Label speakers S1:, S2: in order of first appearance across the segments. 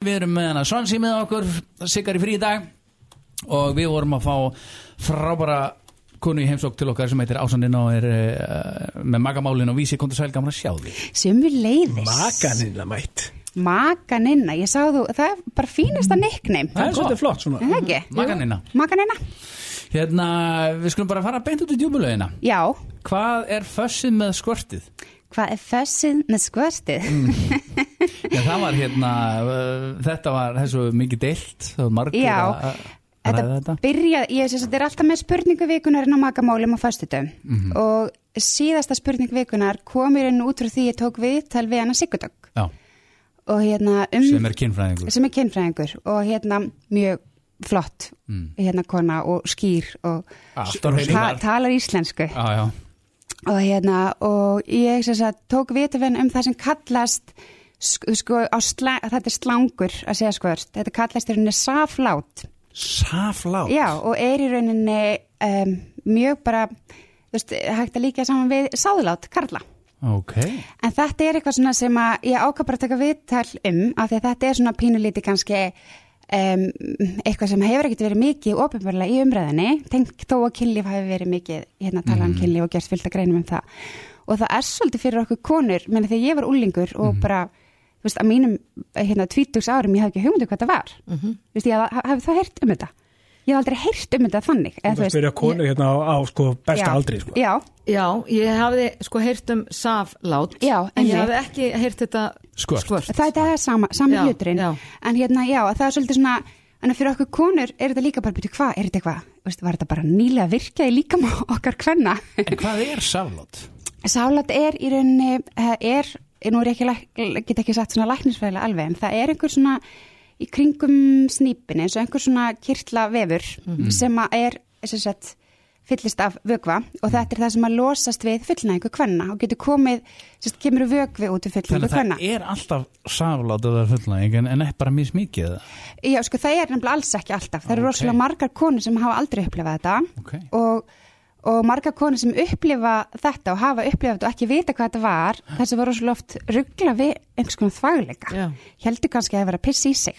S1: Við erum með hana Svansi með okkur, Sigar í frí í dag og við vorum að fá frábara konu í heimsók til okkar sem heitir Ásaninn og er uh, með magamálinn og vísi kom til sæl gaman að sjá því.
S2: Sumur leiðis.
S3: Makaninn að mætt
S2: Makaninna, ég sá þú, það er bara fínasta nickname.
S3: Það er
S1: gott.
S3: svolítið
S2: Er
S3: flott
S2: það
S3: svona
S2: ekki?
S1: Makaninna.
S2: Makaninna,
S1: Hérna, við skulum bara fara beint út í djúbulauðina.
S2: já.
S1: Hvað er fössið með skvörtið?
S2: Hvað er fössið með skvörtið?
S1: Já, það var hérna, uh, þetta var þessu mikið deilt, það var margir
S2: Já.
S1: að að ræða
S2: Þetta
S1: þetta.
S2: byrja, ég sé að þetta er alltaf með spurningu vikunarinn á makamálum á föstutum og síðasta spurning vikunar komur inn út frá því ég tók við tal við hana Sigurdögg
S1: Já,
S2: og hérna um
S1: sem er kynfræðingur.
S2: sem er kynfræðingur og hérna mjög flott hérna kona og skýr og
S1: Alltaf
S2: ta
S1: heilunar.
S2: talar íslensku
S1: Já, já,
S2: og hérna og ég sem sagt, tók vitafinn um það sem kallast sk- sko, á sla, þetta er slangur að segja skvört, þetta kallast í rauninni saflát
S3: Saflát
S2: já, og er í rauninni um, mjög bara þú veist, hægt að líka saman við sáðlát, karla
S1: ok.
S2: En þetta er eitthvað svona sem að ég ákvað bara að taka viðtal um af því að þetta er svona pínulíti kannski um, eitthvað sem hefur ekkert verið mikið ofinbarlega í umræðinni tengt þó að kynlíf hafi verið mikið hérna talað
S3: Mhm.
S2: um kynlíf og gerst fylgta greinum um það og það er svolítið fyrir okkur konur menn þegar ég var úlingur og
S3: Mhm.
S2: bara þú veist, að mínum eh, hérna, 20 árum ég hafði ekki hugmyndu hvað það var mm
S3: Mhm.
S2: -hmm. veist, ég hafði hafði þá heyrt um þetta ég hafði aldrei heyrt um þetta þannig eða,
S3: Það spyrja konur hérna á, á sko, besta
S2: Já.
S3: aldri sko.
S2: já,
S4: Já, ég hafði sko heyrt um saflát
S2: Já,
S4: En
S2: einmitt.
S4: ég hafði ekki heyrt þetta
S1: Skvört.
S4: skvört.
S2: Það, það er sama, sami
S4: Já,
S2: hluturinn
S4: já.
S2: En hérna, já, það er svolítið svona En fyrir okkur konur er þetta líka bara byrju hvað, er þetta eitthvað, veistu, var þetta bara nýlega virkja í líkam okkar kvenna?
S1: En hvað er sálátt?
S2: Sálat er í rauninni, eh, er, nú er ég ekki, læk- get ekki sagt svona læknisfræðilega alveg, en það er einhver svona í kringum snýpinni, eins og einhver svona kirtla vefur
S1: Mhm.
S2: sem að er, sem sagt, fyllist af vögva og þetta er það sem að losast við fullnæðingu kvenna og getur komið, sem sagt, kemur vögvi út við fullnæðingu
S1: Þannig að
S2: kvenna.
S1: það er alltaf sálátt að það er fullnæðing en, en ekki bara mismikið eða?
S2: Já, sko, það er nefnilega alls ekki alltaf. Það eru
S1: Ok.
S2: rosalega margar konur sem hafa aldrei upplifað þetta
S1: Ok.
S2: og, og margar konur sem upplifa þetta og hafa upplifað þetta og ekki vita hvað þetta var, þessi var rosalega oft ruggla við einhvers konar þvæguleika.
S4: Já.
S2: Heldur kannski að það vera að pissa í sig.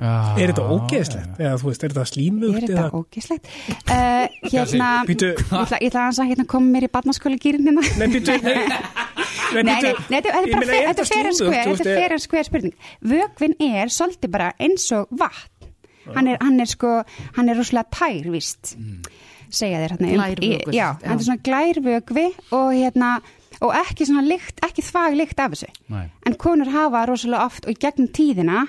S1: Já,
S3: Er þetta ógeðslegt? Eða þú veist, er þetta
S2: Er
S3: slímugt?
S2: þetta ógislegt? Uh, hérna, ég
S3: Bíddu.
S2: ætla, ég ætla aðeins að hérna koma mér í hérna. barnaskóligýrinina.
S3: Nei, býtu Nei,
S2: Nei, nei,
S3: bíddu.
S2: nei, þetta er
S3: Ég
S2: bara
S3: meina,
S2: fer- þetta er fair and
S3: slímugt,
S2: square,
S3: þú
S2: þetta
S3: veist,
S2: er fair and square spurning. Vökvin er svolítið bara eins og vatn. Hann er, hann er sko, hann er rosalega tær, víst. Segja þér hérna.
S4: Glærvökvi,
S2: Já,
S4: já.
S2: hann er svona glærvökvi og hérna, og ekki svona lykt, ekki þvag lykt af þessu.
S1: Nei.
S2: En konur hafa rosalega oft og í gegnum tíðina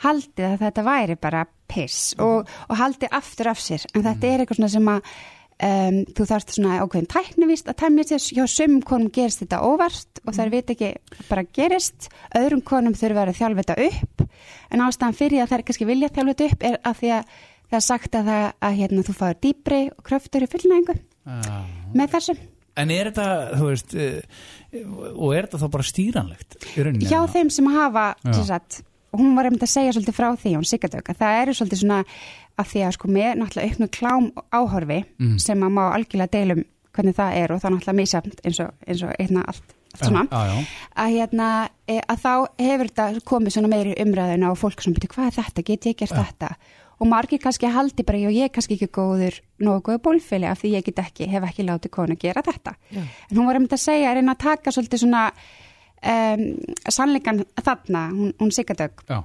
S2: haldið að þetta væri bara piss og, og haldið aftur af sér. En þetta er eitthvað svona sem að um, þú þarfst svona ákveðin tæknivist að tæmja sér. Hjá sumum konum gerist þetta óvart og þær veit ekki bara gerist. Öðrum konum þurfa að þjálfa þetta upp. En ástæðan fyrir að þær kannski vilja þjálfa þetta upp er að því að það er sagt að, það, að hérna, þú fáir dýpri og kröftur í fullnæðingu
S1: Já.
S2: með þessu.
S1: Ah. En er þetta, þú veist, eh, og er þetta þá bara stýranlegt? í rauninni,
S2: hjá
S1: eða?
S2: þeim sem hafa
S1: Já.
S2: sem sagt, hún var einmitt að segja svolítið frá því hún sigardögg að það eru svolítið svona að því að sko með náttúrulega auknu klám áhorfi
S1: Mm.
S2: sem að má algjörlega deilum hvernig það er og það er náttúrulega misjafnt eins og, eins og hérna allt, allt svona
S1: Já, já, já.
S2: að hérna e, að þá hefur þetta komið svona meiri umræðuna og fólk sem byrja hvað er þetta, get ég gert þetta og margir kannski haldi bara og ég er kannski ekki góður nógu góður bólféli af því ég get ekki, hef ekki látið konu gera þetta
S4: Já.
S2: en hún var einmitt að segja, að reyna að taka svolítið svona um, sannleikan þarna, hún, hún sigardögg
S1: Já.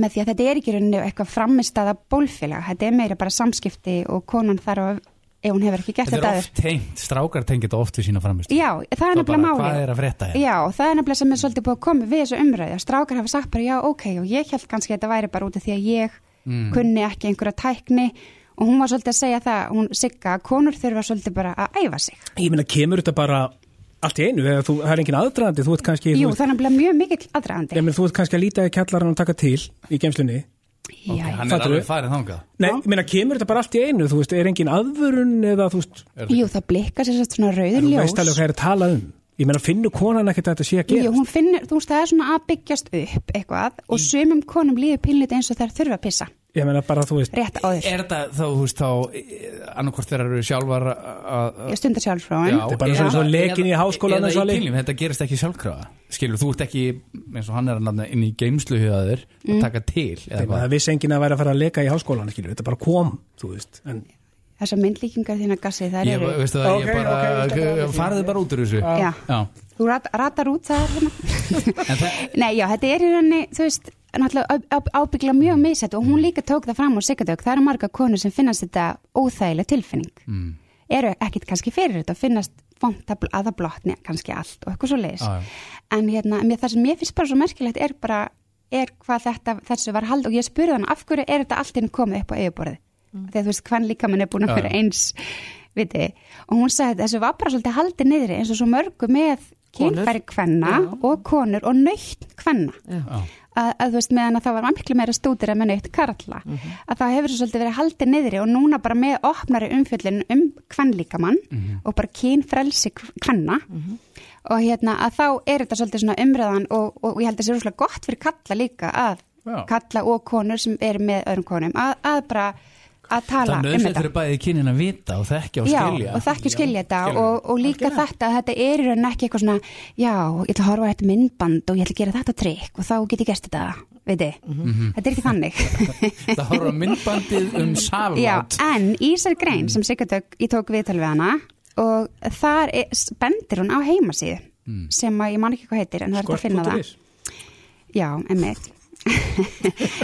S2: með því að þetta er ekki í rauninni eitthvað frammistaða bólfélag, þetta er meira bara samskipti og konan þarf að ef hún hefur ekki gert
S1: Þetta
S2: þetta
S1: er
S2: aður
S1: oft tengt, strákar tengið þetta oft við sína framist
S2: Já, það er nefnilega málið.
S1: Hvað er að frétta þér?
S2: Já, það er nefnilega sem er svolítið búið að koma við þessu umræðu. að Strákar hafa sagt bara já, ok, og ég held kannski að þetta væri bara út af því að ég kunni ekki einhverja tækni og hún var svolítið að segja það, hún sigga að konur þurfa svolítið bara að æfa sig.
S3: Ég meina, kemur þetta bara allt í einu Þegar þú, það er engin aðdraðandi Þú ert kannski,
S2: Jú,
S3: þú,
S2: það er nefnilega mjög mikill
S3: ert,
S2: aðræðandi.
S3: meni, þú ert kannski að líta í kjallarann og taka til í gemslunni
S2: Já, já.
S1: Hann er
S3: Fattarðu?
S1: alveg farið þangað
S3: Nei, ég meina, kemur þetta bara allt í einu Þú veist, er engin aðvörun eða þú veist
S2: Jú, það blikkar sér satt svona rauður
S3: Þú
S2: ljós.
S3: veist alveg hvað er að tala um Ég meina, finnur konan ekkert að þetta sé að
S2: Jú,
S3: gera
S2: hún finnur, þú veist, það er svona að byggjast upp eitthvað og sumum konum líður pinlítið eins og þær þurfa að pissa.
S3: ég meina bara þú veist
S2: rétt áður.
S1: Er þetta þá, þú veist, þá annarkort þeirra eru sjálfar að
S2: Ég stundar sjálfróun.
S3: er bara svona
S1: eða-
S3: svo lekin í
S1: eða-
S3: háskólanum
S1: eða í
S3: svolítið.
S1: kynlíf, þetta gerist ekki sjálfkrafa skilur, þú ert ekki, eins og hann er hann inn í geimsluhjöðaður
S3: Mm.
S1: að taka til eða
S3: Þeim,
S1: hvað,
S3: það vissi enginn að vera að fara að leika í háskólan skilur, þetta bara kom, þú veist en,
S2: Þessar myndlíkingar þína gassi, það
S1: ég,
S2: eru...
S1: veistu það,
S3: Ok,
S1: ég bara
S3: ok, ég skal taka því.
S1: farðu bara út úr þessu
S2: Já.
S1: Já.
S2: Þú rat, ratar út það hérna.
S1: En það-
S2: Nei, já, þetta er í rauninni, þú veist, náttúrulega á- á- ábyggilega mjög misætt og hún líka tók það fram úr Sigurdögg. Það eru marga konur sem finnast þetta óþægileg tilfinning. Mm. Eru ekkit kannski fyrir þetta, finnast vont að bl- að það blotni kannski allt og eitthvað svo leiðis.
S1: Já, já.
S2: En hérna, mér, það sem mér finnst bara svo merkilegt er bara, er hvað þetta, þessu var hald og ég spurði hann af hverju er þetta allt inn komið upp á yfirborðið?
S4: Mm.
S2: Þegar þú veist, hvern líka mann er búin
S1: Já,
S2: að
S1: já.
S2: vera eins, viti, og hún sagði þessu var bara svolítið haldið niðri eins og svo mörgu með
S4: Konur.
S2: kynfæri kvenna
S4: Já.
S2: og konur og nöytt kvenna
S4: Já.
S2: að, að þú veist meðan að það var miklu meira stútir að með nöytt karla að það hefur svo svolítið verið haldið niðri og núna bara með opnari umfjöllin um kvennlíkamann og bara kynfrelsi kvenna og hérna að þá er þetta svolítið svona umræðan og, og, og ég held að það sé rúslega gott fyrir kalla líka að
S1: Já.
S2: kalla og konur sem eru með öðrum konum að, að bara að
S1: það
S2: tala um
S1: nöðsett
S2: þetta
S1: fyrir bæði kynin að vita og þekkja og skilja
S2: Já, og þakki og skilja þetta
S1: skilja.
S2: og, og líka þetta að þetta er í rauninni ekki eitthvað svona já, ég ætla að horfa á þetta myndband og ég ætla að gera þetta trikk og þá get ég gert þetta veit ég,
S1: Mhm.
S2: þetta er ekki þannig
S1: það horfa á myndbandið um
S2: Já,
S1: saflát
S2: en í þessari grein sem Sigurdögg ég tók viðtal við hana og þar er, bendir hún á heimasíðu
S1: Mm.
S2: sem að ég man ekki hvað heitir en það er þetta að finna það
S3: skort.is.
S2: Já, emmitt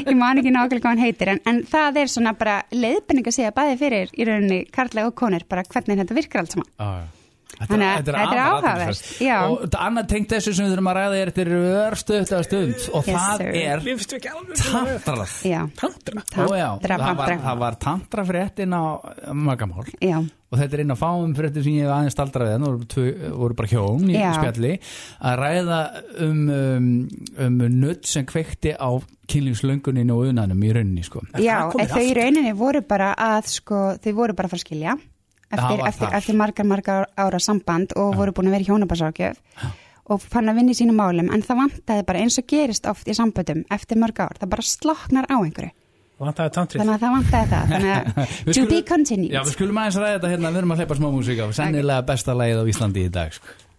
S2: ég man ekki nákvæmlega hvað hann heitir en, en það er svona bara leiðbenning að segja bæði fyrir í rauninni karlæg og konur bara hvernig þetta virkar allt saman
S1: Já, já.
S2: Þannig að þetta er
S1: afar
S2: áhugavert,
S1: athyglisvert.
S2: já.
S1: og þetta annað tengt þessu sem við þurfum að ræða er þetta er örstuðt að stund og
S2: Yes,
S1: það
S2: sir.
S1: er
S3: Mér finnst ekki alveg
S1: tantrað
S2: Já,
S3: Tantra
S1: Ó, já,
S2: tantra,
S1: það var,
S2: tantra.
S1: það var tantra fréttin á magamál
S2: Já,
S1: og þetta er inn á fáum fréttin sem ég hef aðeins staldraði þannig voru, tvö- voru bara hjón í
S2: Já.
S1: spjalli að ræða um, um, um nutt sem kveikti á kynlingslönguninu og unanum í rauninni sko.
S3: það
S2: já
S3: komið
S2: en þau í
S3: aftur?
S2: rauninni voru bara að sko, þau voru bara að fara að skilja
S1: Það
S2: eftir,
S1: var
S2: eftir,
S1: þar.
S2: eftir margar, margar ára samband og voru búin að vera í hjónabarsrákjöf og fann að vinna í sínum málum en það vantaði bara eins og gerist oft í samböndum eftir mörg ár, það bara sloknar á einhverju
S3: Vantaði tantrið
S2: þannig að það vantaði það þannig
S1: Við
S2: að to be
S1: skulum- Já, við
S2: continued
S1: skulum aðeins ræða þetta hérna, við erum að hleypa smá músík á sennilega besta lagið á Íslandi í dag sko.